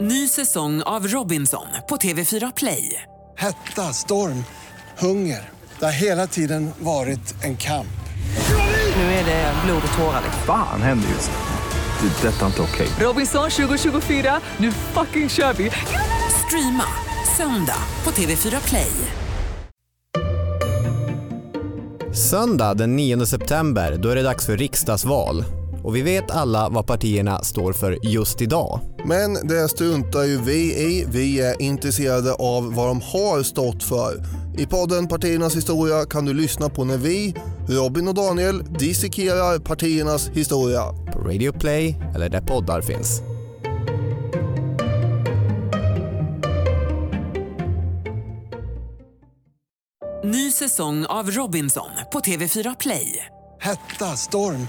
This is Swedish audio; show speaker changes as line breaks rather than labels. Ny säsong av Robinson på TV4 Play.
Hetta, storm, hunger. Det har hela tiden varit en kamp.
Nu är det blod och tårar. liksom.
Fan händer just nu. Det. är Detta är inte okej.
Robinson 2024, nu fucking kör vi! Streama söndag på TV4 Play.
Söndag den 9 september, då är det dags för riksdagsval. Och vi vet alla vad partierna står för just idag.
Men det struntar ju vi i. Vi är intresserade av vad de har stått för. I podden Partiernas historia kan du lyssna på när vi, Robin och Daniel, dissekerar partiernas historia.
På Radio Play eller där poddar finns.
Ny säsong av Robinson på TV4 Play.
Hetta, storm,